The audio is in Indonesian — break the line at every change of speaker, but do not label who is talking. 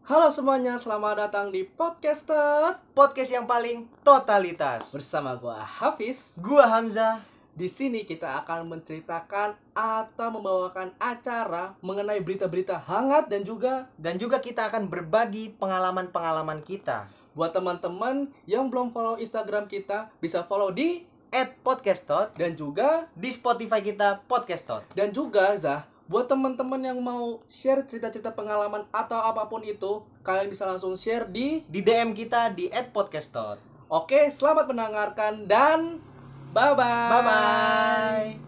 Halo semuanya, selamat datang di Podcaster
podcast yang paling totalitas.
bersama gua Hafiz.
Gua Hamzah.
Di sini kita akan menceritakan atau membawakan acara mengenai berita-berita hangat dan juga
Dan juga kita akan berbagi pengalaman-pengalaman kita
buat teman-teman yang belum follow Instagram kita bisa follow di
At Podcastot
dan juga
Di Spotify kita Podcastot
dan juga Zah buat teman-teman yang mau share cerita-cerita pengalaman atau apapun itu kalian bisa langsung share di
Di DM kita di At Podcastot
Oke, selamat mendengarkan dan bye bye.
Bye-bye